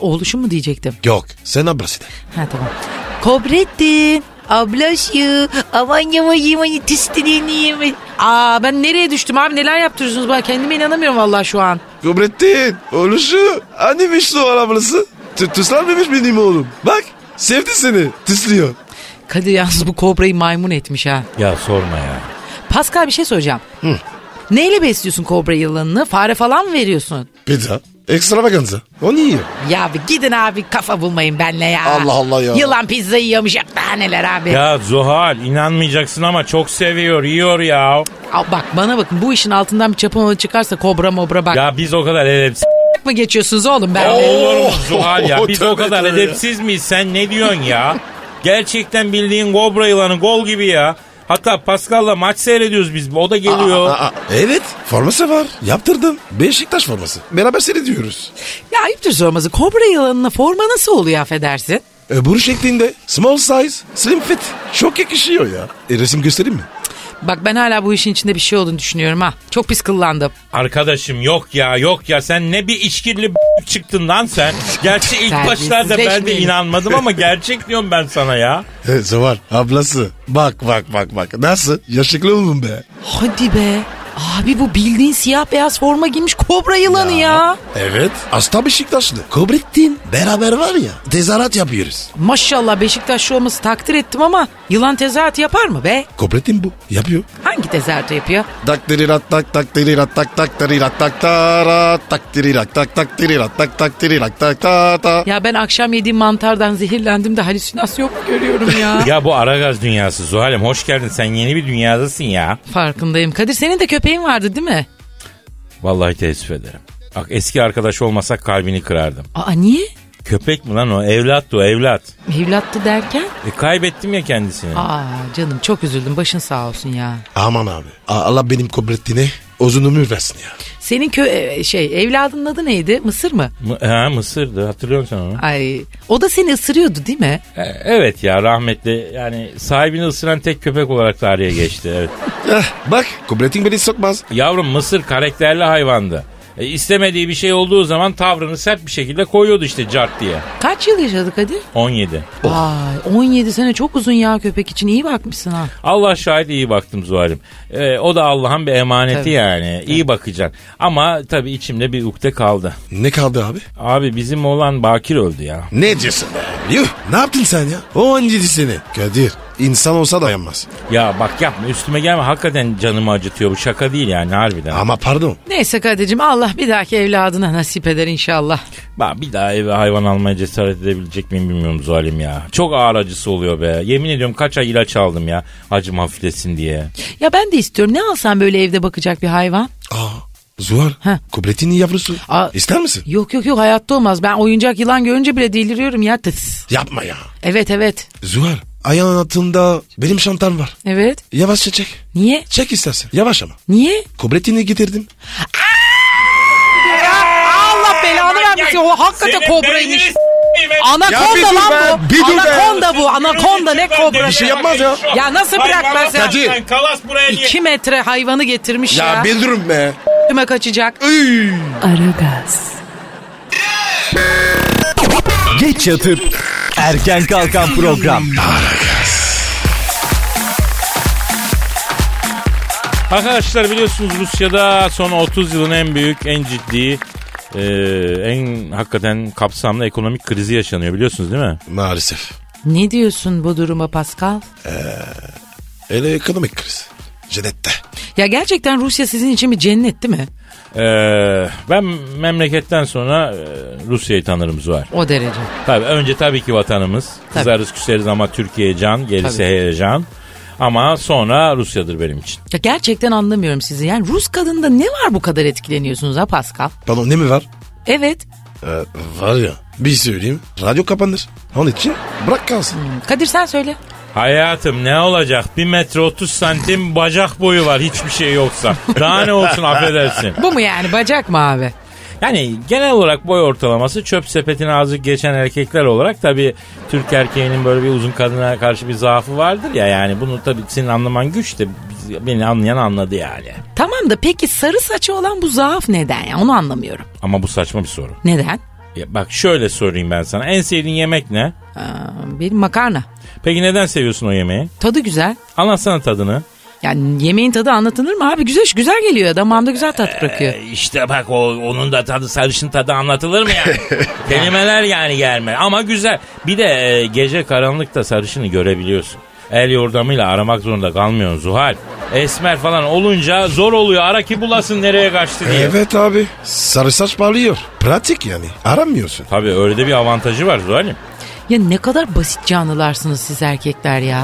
S1: Oğluşum mu diyecektim?
S3: Yok. Sen abrası de.
S1: Ha tamam. Kobrettin. Ablaşı. Aman yama yiyemeni tistiliğini yeme. Aa ben nereye düştüm abi neler yaptırıyorsunuz bana kendime inanamıyorum vallahi şu an.
S3: Kobrettin. Oluşu. Annemiş Hani o ablası. T- tıslanmamış benim oğlum. Bak. Sevdi seni. Tıslıyor.
S1: Kadir yalnız bu kobrayı maymun etmiş ha.
S2: Ya sorma ya.
S1: Pascal bir şey soracağım. Neyle besliyorsun kobra yılanını? Fare falan mı veriyorsun?
S3: Pizza. Ekstravaganza. O niye yiyor?
S1: Ya bir gidin abi kafa bulmayın benle ya.
S3: Allah Allah ya.
S1: Yılan pizza yiyormuş ya daha neler abi.
S2: Ya Zuhal inanmayacaksın ama çok seviyor yiyor ya.
S1: Aa, bak bana bakın bu işin altından bir çapamalı çıkarsa kobra mobra bak.
S2: Ya biz o kadar edepsiz
S1: Yak mı geçiyorsunuz oğlum ben?
S2: Olur mu Zuhal ya? Biz o
S3: Tövbe
S2: kadar
S3: tövbe ya.
S2: edepsiz miyiz? Sen ne diyorsun ya? Gerçekten bildiğin kobra yılanı gol gibi ya. Hatta Pascal'la maç seyrediyoruz biz. O da geliyor.
S3: Aa, evet. Forması var. Yaptırdım. Beşiktaş forması. Beraber seyrediyoruz.
S1: Ya ayıptır sorması kobra yılanına forma nasıl oluyor affedersin?
S3: E, boru şeklinde. Small size. Slim fit. Çok yakışıyor ya. E, resim göstereyim mi?
S1: Bak ben hala bu işin içinde bir şey olduğunu düşünüyorum ha. Çok pis kıllandım.
S2: Arkadaşım yok ya yok ya sen ne bir içkili b- çıktın lan sen. Gerçi ilk başlarda ben de
S1: Terbiyesizleşmeyin.
S2: inanmadım ama gerçek diyorum ben sana ya.
S3: Evet Zavar. Ablası. Bak bak bak bak. Nasıl? Yaşıklı oldun be.
S1: Hadi be. Abi bu bildiğin siyah beyaz forma giymiş kobra yılanı ya.
S3: Evet. Asla Beşiktaşlı. Kobrettin. Beraber var ya. Tezahürat yapıyoruz.
S1: Maşallah Beşiktaşlı olması takdir ettim ama yılan tezahüratı yapar mı be?
S3: Kobrettin bu. Yapıyor.
S1: Hangi tezahüratı yapıyor?
S3: Tak tirirat tak tak tirirat tak tak tirirat tak tara tak tirirat tak tak tirirat tak tak tirirat tak ta ta.
S1: Ya ben akşam yediğim mantardan zehirlendim de halüsinasyon mu görüyorum ya?
S2: Ya bu Aragaz dünyası Zuhal'im hoş geldin sen yeni bir dünyadasın ya.
S1: Farkındayım. Kadir senin de köpeğin vardı değil mi?
S2: Vallahi teessüf ederim. Bak eski arkadaş olmasak kalbini kırardım.
S1: Aa niye?
S2: Köpek mi lan o? Evlattı o evlat.
S1: Evlattı derken?
S2: E, kaybettim ya kendisini.
S1: Aa canım çok üzüldüm. Başın sağ olsun ya.
S3: Aman abi. A- Allah benim Kobrettin'e uzun ömür versin ya.
S1: Senin kö e, şey evladının adı neydi? Mısır mı?
S2: M- ha Mısır'dı hatırlıyor musun onu?
S1: Ay o da seni ısırıyordu değil mi?
S2: E, evet ya rahmetli yani sahibini ısıran tek köpek olarak tarihe geçti evet.
S3: Eh, bak Kobrettin beni sokmaz.
S2: Yavrum Mısır karakterli hayvandı. E, istemediği bir şey olduğu zaman tavrını sert bir şekilde koyuyordu işte cart diye.
S1: Kaç yıl yaşadık hadi?
S2: 17.
S1: Vay 17 sene çok uzun ya köpek için iyi bakmışsın ha.
S2: Allah şahit iyi baktım Zuhal'im. E, o da Allah'ın bir emaneti
S1: Tabii.
S2: yani. İyi bakacaksın. Ama tabii içimde bir ukde kaldı.
S3: Ne kaldı abi?
S2: Abi bizim olan Bakir öldü ya.
S3: Ne diyorsun be? Yuh ne yaptın sen ya? O 17 sene. Kadir insan olsa dayanmaz.
S2: Ya bak yapma üstüme gelme hakikaten canımı acıtıyor bu şaka değil yani harbiden.
S3: Ama pardon.
S1: Neyse Kadir'cim Allah bir dahaki evladına nasip eder inşallah.
S2: Ben bir daha eve hayvan almaya cesaret edebilecek miyim bilmiyorum Zuhal'im ya. Çok ağır acısı oluyor be. Yemin ediyorum kaç ay ilaç aldım ya acım hafiflesin diye.
S1: Ya ben de istiyorum ne alsam böyle evde bakacak bir hayvan?
S3: Aa Zuhar.
S1: Heh.
S3: Kubretinin yavrusu.
S1: Aa.
S3: İster misin?
S1: Yok yok yok hayatta olmaz. Ben oyuncak yılan görünce bile deliriyorum ya. Tıs.
S3: Yapma ya.
S1: Evet evet.
S3: Zuhar ayağın altında benim şantam var.
S1: Evet.
S3: Yavaşça çek.
S1: Niye?
S3: Çek istersen. Yavaş ama.
S1: Niye?
S3: Kubretini getirdim.
S1: Allah belanı vermesin. O hakikaten kobraymış. Anakonda lan bu. anakonda bu. Anakonda ne kobra.
S3: Bir şey yapmaz ya.
S1: Ya nasıl bırakmaz ya?
S3: Kadir.
S2: Kalas buraya niye?
S1: 2 metre hayvanı getirmiş ya.
S3: Ya
S1: ya.
S3: bildirim be.
S1: Kime kaçacak?
S5: Aragaz,
S4: Geç yatıp erken kalkan program.
S2: Arkadaşlar biliyorsunuz Rusya'da son 30 yılın en büyük, en ciddi, e, en hakikaten kapsamlı ekonomik krizi yaşanıyor biliyorsunuz değil mi?
S3: Maalesef.
S1: Ne diyorsun bu duruma Pascal?
S3: Ele ekonomik kriz. Cennette.
S1: Ya gerçekten Rusya sizin için bir cennet değil mi?
S2: E, ben memleketten sonra e, Rusya'yı tanırım Zuhal.
S1: O derece.
S2: Tabii önce tabii ki vatanımız.
S1: Tabii.
S2: Kızarız küseriz ama Türkiye can, gerisi
S1: Tabii.
S2: heyecan. Ama sonra Rusya'dır benim için.
S1: Ya gerçekten anlamıyorum sizi. Yani Rus kadında ne var bu kadar etkileniyorsunuz ha Pascal?
S3: Pardon ne mi var?
S1: Evet.
S3: Ee, var ya bir söyleyeyim radyo kapanır. Onun için bırak kalsın.
S1: Kadir sen söyle.
S2: Hayatım ne olacak? 1 metre 30 santim bacak boyu var hiçbir şey yoksa. Daha ne olsun affedersin.
S1: Bu mu yani bacak mı abi?
S2: Yani genel olarak boy ortalaması çöp sepetini azıcık geçen erkekler olarak tabii Türk erkeğinin böyle bir uzun kadına karşı bir zaafı vardır ya yani bunu tabii senin anlaman güç de biz- beni anlayan anladı yani.
S1: Tamam da peki sarı saçı olan bu zaaf neden ya? Onu anlamıyorum.
S2: Ama bu saçma bir soru.
S1: Neden?
S2: Ya bak şöyle sorayım ben sana. En sevdiğin yemek ne?
S1: Aa, Ee, bir makarna.
S2: Peki neden seviyorsun o yemeği?
S1: Tadı güzel.
S2: Anlatsana tadını.
S1: Yani yemeğin tadı anlatılır mı abi? Güzel güzel geliyor. Damağımda güzel tat bırakıyor.
S2: E, işte bak o, onun da tadı sarışın tadı anlatılır mı yani? Kelimeler yani gelme ama güzel. Bir de e, gece karanlıkta sarışını görebiliyorsun. El yordamıyla aramak zorunda kalmıyorsun Zuhal. Esmer falan olunca zor oluyor. Ara ki bulasın nereye kaçtı diye.
S3: Evet abi sarı saç parlıyor. Pratik yani aramıyorsun.
S2: Tabii öyle de bir avantajı var Zuhal'im.
S1: Ya ne kadar basit canlılarsınız siz erkekler ya.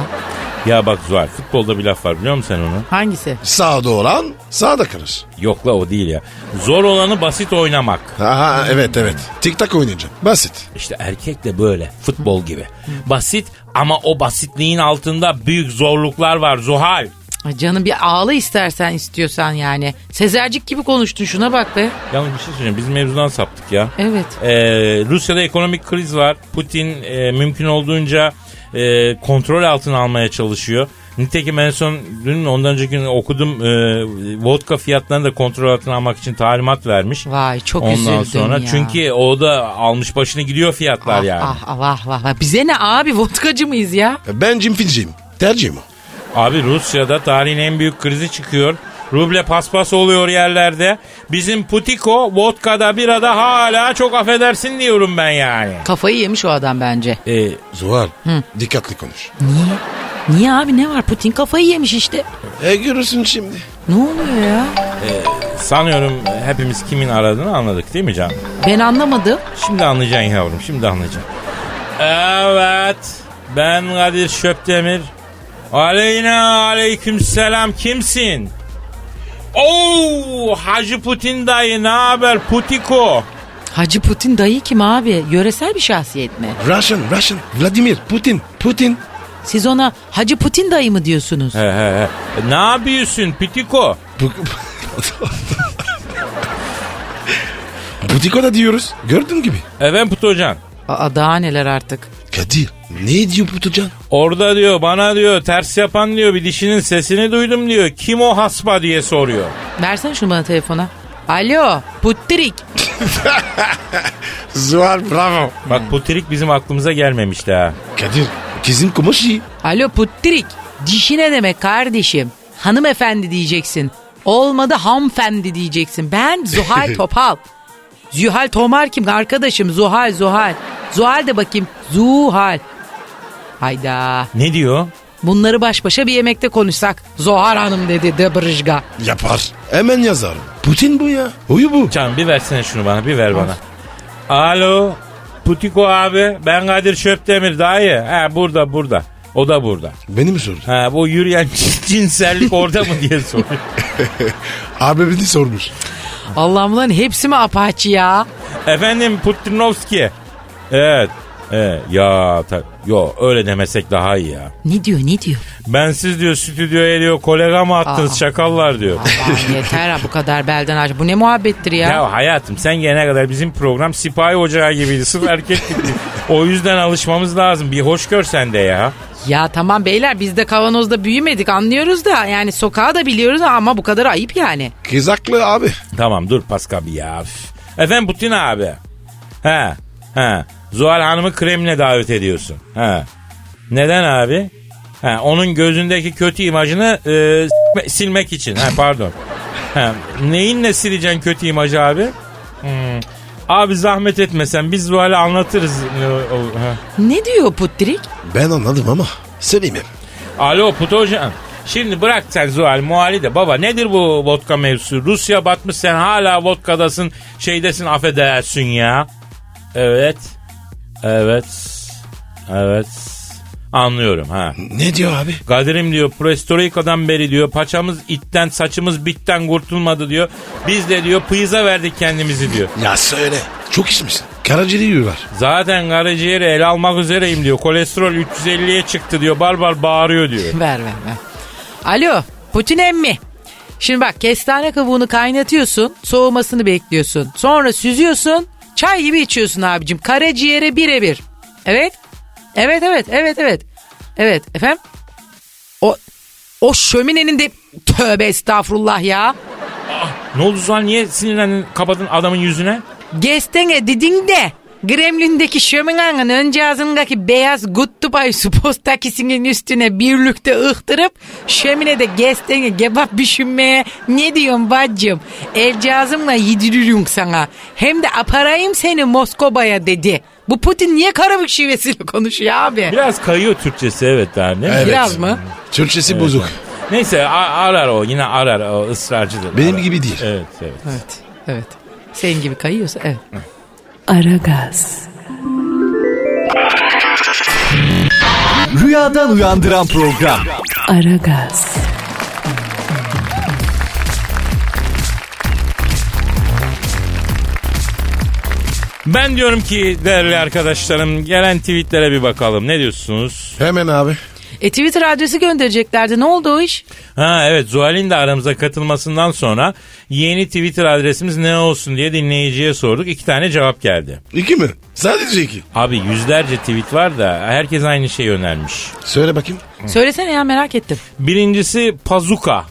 S2: Ya bak Zuhal futbolda bir laf var biliyor musun sen onu?
S1: Hangisi?
S3: Sağda olan sağda kalır.
S2: Yok la o değil ya. Zor olanı basit oynamak.
S3: Aha evet evet. Tik tak oynayacağım. Basit.
S2: İşte erkek de böyle futbol gibi. Basit ama o basitliğin altında büyük zorluklar var Zuhal.
S1: Ay Canım bir ağla istersen istiyorsan yani. Sezercik gibi konuştun şuna bak be.
S2: Yalnız bir şey söyleyeceğim biz mevzudan saptık ya.
S1: Evet.
S2: Ee, Rusya'da ekonomik kriz var. Putin e, mümkün olduğunca e, kontrol altına almaya çalışıyor. Nitekim en son dün mü, ondan önceki gün okudum e, vodka fiyatlarını da kontrol altına almak için talimat vermiş.
S1: Vay çok
S2: Ondan
S1: üzüldüm
S2: sonra
S1: ya.
S2: çünkü o da almış başını gidiyor fiyatlar
S1: ah,
S2: yani.
S1: Ah, ah, vah, vah, vah. Bize ne abi vodkacı mıyız ya?
S3: Ben cimfinciyim. Tercihim o.
S2: Abi Rusya'da tarihin en büyük krizi çıkıyor. Ruble paspas oluyor yerlerde. Bizim Putiko vodkada birada hala çok affedersin diyorum ben yani.
S1: Kafayı yemiş o adam bence.
S2: Ee,
S3: Zuhal dikkatli konuş.
S1: Niye? Niye abi ne var? Putin kafayı yemiş işte.
S3: E görürsün şimdi.
S1: Ne oluyor ya?
S2: sanıyorum hepimiz kimin aradığını anladık değil mi Can?
S1: Ben anlamadım.
S2: Şimdi anlayacaksın yavrum şimdi anlayacaksın. Evet ben Kadir Şöpdemir. Aleyna aleyküm selam kimsin? Oo Hacı Putin dayı ne haber Putiko?
S1: Hacı Putin dayı kim abi? Yöresel bir şahsiyet mi?
S3: Russian, Russian, Vladimir, Putin, Putin.
S1: Siz ona Hacı Putin dayı mı diyorsunuz?
S2: He he he. Ne yapıyorsun Pitiko?
S3: Bu... Butiko da diyoruz. Gördüğün gibi.
S2: Efendim Putocan.
S1: Aa, daha neler artık.
S3: Kadir ne diyor Putucan?
S2: Orada diyor bana diyor ters yapan diyor bir dişinin sesini duydum diyor. Kim o hasba diye soruyor.
S1: Versene şunu bana telefona. Alo puttirik.
S3: Zuhal bravo.
S2: Bak putrik bizim aklımıza gelmemişti ha.
S3: Kadir kızın kumaşı iyi.
S1: Alo puttirik. Dişi ne demek kardeşim? Hanımefendi diyeceksin. Olmadı hanımefendi diyeceksin. Ben Zuhal Topal. Zuhal Tomar kim arkadaşım? Zuhal Zuhal. Zuhal de bakayım. Zuhal. Hayda.
S2: Ne diyor?
S1: Bunları baş başa bir yemekte konuşsak. Zuhal Hanım dedi Debrıjga.
S3: Yapar. Hemen yazarım. Putin bu ya. Uyu bu.
S2: Can bir versene şunu bana bir ver bana. Alo Putiko abi ben Kadir Şöpdemir dayı. Ha burada burada. O da burada.
S3: Beni mi sordun?
S2: Ha bu yürüyen cinsellik orada mı diye soruyor.
S3: Abi beni sormuş.
S1: Allah'ım lan hepsi mi apaçi ya?
S2: Efendim Putinovski. Evet. evet. Ya ta- yo öyle demesek daha iyi ya.
S1: Ne diyor ne diyor?
S2: Ben siz diyor stüdyoya diyor kolega mı attınız
S1: Aa.
S2: şakallar diyor.
S1: Aman yeter ha bu kadar belden aç. Bu ne muhabbettir ya?
S2: Ya hayatım sen gelene kadar bizim program sipahi ocağı gibiydi. Sırf erkek gibi. O yüzden alışmamız lazım. Bir hoş gör sen de ya.
S1: Ya tamam beyler biz de kavanozda büyümedik anlıyoruz da yani sokağa da biliyoruz ama bu kadar ayıp yani.
S3: Kız haklı abi.
S2: Tamam dur Pascal bir ya. Üf. Efendim Putin abi. He. He. Zuhal Hanım'ı Kremlin'e davet ediyorsun. He. Neden abi? He, onun gözündeki kötü imajını e, s- silmek için. He, pardon. He, neyinle sileceksin kötü imajı abi? Hmm. Abi zahmet etmesen biz Zuhal'e anlatırız. E, o- he.
S1: Ne diyor Puttirik?
S3: Ben anladım ama söylemeyeyim.
S2: Alo Puto hocam. Şimdi bırak sen Zuhal Muhali de baba nedir bu vodka mevzusu? Rusya batmış sen hala vodkadasın şeydesin affedersin ya. Evet. Evet. Evet. Anlıyorum ha.
S3: Ne diyor abi?
S2: Kadir'im diyor Presto Rico'dan beri diyor paçamız itten saçımız bitten kurtulmadı diyor. Biz de diyor pıyıza verdik kendimizi diyor.
S3: Ya söyle. Çok içmişsin. Karaciğeri yiyorlar.
S2: Zaten karaciğeri el almak üzereyim diyor. Kolesterol 350'ye çıktı diyor. Barbar bağırıyor diyor.
S1: Ver ver ver. Alo Putin emmi. Şimdi bak kestane kabuğunu kaynatıyorsun soğumasını bekliyorsun. Sonra süzüyorsun çay gibi içiyorsun abicim karaciğere birebir. Evet evet evet evet evet. Evet efendim. O, o şöminenin de tövbe estağfurullah ya.
S2: Ne oldu Zuhal niye sinirlendin kapadın adamın yüzüne?
S1: Gestene dedin de Gremlin'deki şöminanın önce ağzındaki beyaz Guttubay postakisinin üstüne birlikte ıhtırıp şöminede gestene kebap düşünmeye ne diyorsun bacım? El cihazımla yediririm sana. Hem de aparayım seni Moskova'ya dedi. Bu Putin niye Karabük şivesiyle konuşuyor abi?
S2: Biraz kayıyor Türkçesi evet daha ne?
S3: Evet.
S1: Biraz mı?
S3: Türkçesi bozuk.
S2: Neyse a- arar o yine arar o ısrarcıdır.
S3: Benim
S2: Arar.
S3: gibi değil.
S2: Evet evet.
S1: Evet, evet. Senin gibi kayıyorsa evet.
S5: Aragaz,
S4: Rüyadan uyandıran program.
S5: Aragaz,
S2: Ben diyorum ki değerli arkadaşlarım gelen tweetlere bir bakalım ne diyorsunuz?
S3: Hemen abi.
S1: E Twitter adresi göndereceklerdi. Ne oldu o iş?
S2: Ha evet Zuhal'in de aramıza katılmasından sonra yeni Twitter adresimiz ne olsun diye dinleyiciye sorduk. İki tane cevap geldi.
S3: İki mi? Sadece iki.
S2: Abi yüzlerce tweet var da herkes aynı şeyi önermiş.
S3: Söyle bakayım.
S1: Söylesene ya merak ettim.
S2: Birincisi Pazuka.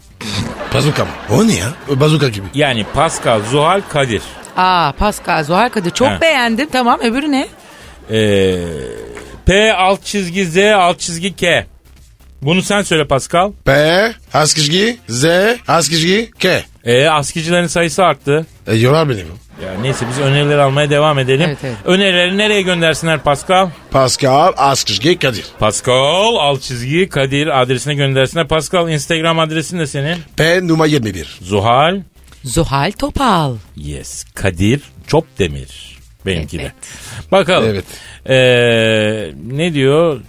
S3: Bazuka mı? O ne ya? Bazuka gibi.
S2: Yani Pascal, Zuhal, Kadir.
S1: Aa Pascal Zuhal Kadir çok
S2: He.
S1: beğendim. Tamam öbürü ne?
S2: Ee, P alt çizgi Z alt çizgi K. Bunu sen söyle Pascal.
S3: P, askışgi, Z, askışgi, K.
S2: Ee, askıcıların sayısı arttı.
S3: E, yorar beni bu.
S2: Ya neyse biz önerileri almaya devam edelim.
S1: Evet, evet.
S2: Önerileri nereye göndersinler Pascal?
S3: Pascal, askışgi, Kadir.
S2: Pascal alt çizgi Kadir adresine göndersinler. Pascal Instagram adresin de senin.
S3: P numara 21.
S2: Zuhal.
S1: Zuhal Topal.
S2: Yes. Kadir Çopdemir. Benimki
S1: Evet.
S2: de. Bakalım.
S3: Evet.
S2: Ee, ne diyor?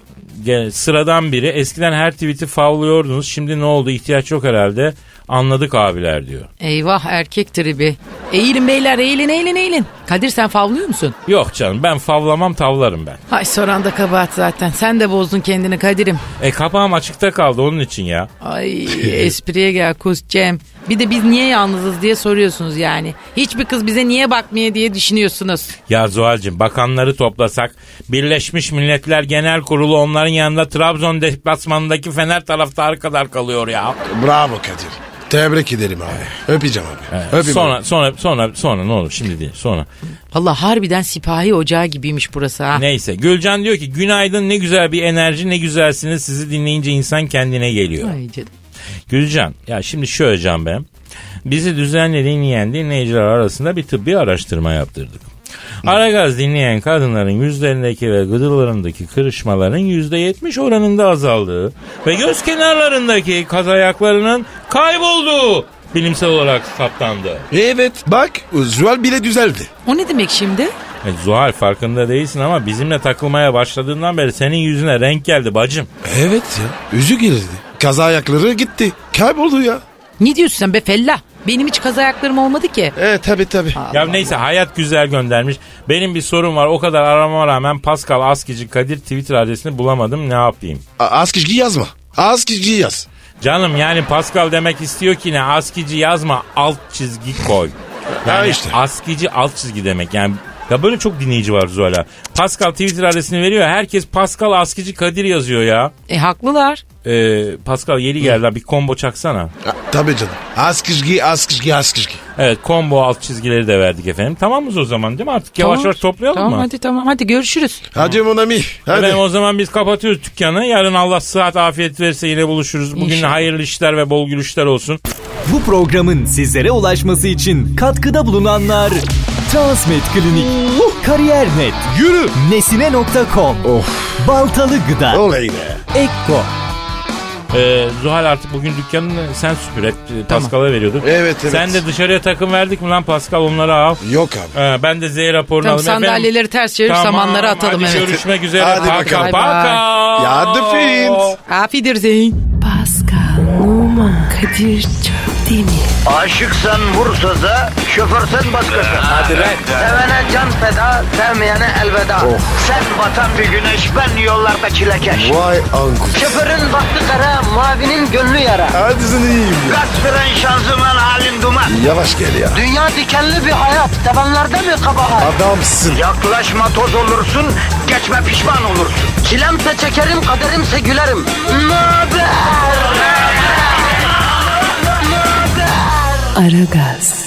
S2: Gene Sıradan biri. Eskiden her tweet'i favlıyordunuz. Şimdi ne oldu? İhtiyaç yok herhalde. Anladık abiler diyor.
S1: Eyvah erkek tribi. Eğilin beyler eğilin eğilin eğilin. Kadir sen favlıyor musun?
S2: Yok canım ben favlamam tavlarım ben.
S1: Ay soran da kabahat zaten. Sen de bozdun kendini Kadir'im.
S2: E kapağım açıkta kaldı onun için ya.
S1: Ay espriye gel kus Cem. Bir de biz niye yalnızız diye soruyorsunuz yani. Hiçbir kız bize niye bakmıyor diye düşünüyorsunuz.
S2: Ya Zuhal'cığım bakanları toplasak Birleşmiş Milletler Genel Kurulu onların yanında Trabzon deplasmanındaki Fener taraftarı kadar kalıyor ya.
S3: Bravo Kadir. Tebrik ederim abi. Öpeceğim abi. Öpeyim
S2: Sonra,
S3: abi.
S2: sonra, sonra, sonra ne olur şimdi değil sonra.
S1: Valla harbiden sipahi ocağı gibiymiş burası ha.
S2: Neyse Gülcan diyor ki günaydın ne güzel bir enerji ne güzelsiniz sizi dinleyince insan kendine geliyor.
S1: Ay canım.
S2: Gülcan ya şimdi şöyle Can ben. Bizi düzenli dinleyen dinleyiciler arasında bir tıbbi araştırma yaptırdık. Aragaz dinleyen kadınların yüzlerindeki ve gıdırlarındaki kırışmaların %70 oranında azaldığı ve göz kenarlarındaki kaz ayaklarının kaybolduğu bilimsel olarak saptandı.
S3: Evet bak Zuhal bile düzeldi.
S1: O ne demek şimdi?
S2: E, Zuhal farkında değilsin ama bizimle takılmaya başladığından beri senin yüzüne renk geldi bacım.
S3: Evet ya. Üzü girdi. Kaza ayakları gitti. Kayboldu ya.
S1: Ne diyorsun sen be fellah? Benim hiç kaz ayaklarım olmadı ki.
S3: Evet tabi tabi.
S2: Ya neyse hayat güzel göndermiş. Benim bir sorum var. O kadar aramama rağmen Pascal Askici Kadir Twitter adresini bulamadım. Ne yapayım?
S3: Az kişi yazma. Az kişi yaz.
S2: Canım yani Pascal demek istiyor ki ne? Askici yazma alt çizgi koy.
S3: Ha
S2: Yani
S3: işte.
S2: askici alt çizgi demek. Yani ya böyle çok dinleyici var Zuhal'a. Pascal Twitter adresini veriyor. Herkes Pascal Askici Kadir yazıyor ya.
S1: E haklılar.
S2: Ee, Pascal yeni geldi. lan, Bir combo çaksana.
S3: Tabi canım. Az kişi az kişi az kişi.
S2: Evet combo alt çizgileri de verdik efendim. Tamamız o zaman değil mi artık? Yavaş
S1: Tamam.
S2: yavaş toplayalım
S1: Tamam
S2: mı?
S1: hadi tamam hadi görüşürüz.
S3: Hadi mon ami. Hadi.
S2: Efendim o zaman biz kapatıyoruz dükkanı. Yarın Allah sıhhat afiyet verirse yine buluşuruz. Bugün
S1: İnşallah.
S2: hayırlı işler ve bol gülüşler olsun.
S4: Bu programın sizlere ulaşması için katkıda bulunanlar Transmed Klinik, Kariyer.net,
S3: Yürü.
S4: Nesine.com,
S3: Of.
S4: Baltalı Gıda,
S3: Olay be.
S4: Ekko.
S2: Ee, Zuhal artık bugün dükkanını sen süpür et. Ee, Pascal'a veriyorduk.
S3: Evet, evet.
S2: Sen de dışarıya takım verdik mi lan Pascal onları al.
S3: Yok abi.
S2: Ee, ben de Z raporunu
S1: Tamam
S2: alayım. Efendim,
S1: sandalyeleri ters çevirip
S2: tamam,
S1: samanlara atalım
S2: hadi
S1: evet.
S2: görüşmek üzere.
S3: Hadi
S2: Paka,
S3: bakalım.
S2: paka.
S1: Bye
S3: Ya hadi friends.
S1: Afidir Zeyn.
S5: Pascal, Oman, Kadir çok değil mi?
S6: Aşıksan vursa da, şoförsen başkasın. Hadi Sevene can feda, sevmeyene elveda. Sen batan bir güneş, ben yollarda çilekeş.
S3: Vay anku.
S6: Şoförün baktı kara, mavinin gönlü yara.
S3: Hadi sen iyiyim ya.
S6: Kasperen şanzıman halin duman.
S3: Yavaş gel ya.
S6: Dünya dikenli bir hayat, sevenlerde mi kabahar?
S3: Adamsın.
S6: Yaklaşma toz olursun, geçme pişman olursun. Çilemse çekerim, kaderimse gülerim. Möber!
S5: Aragaz.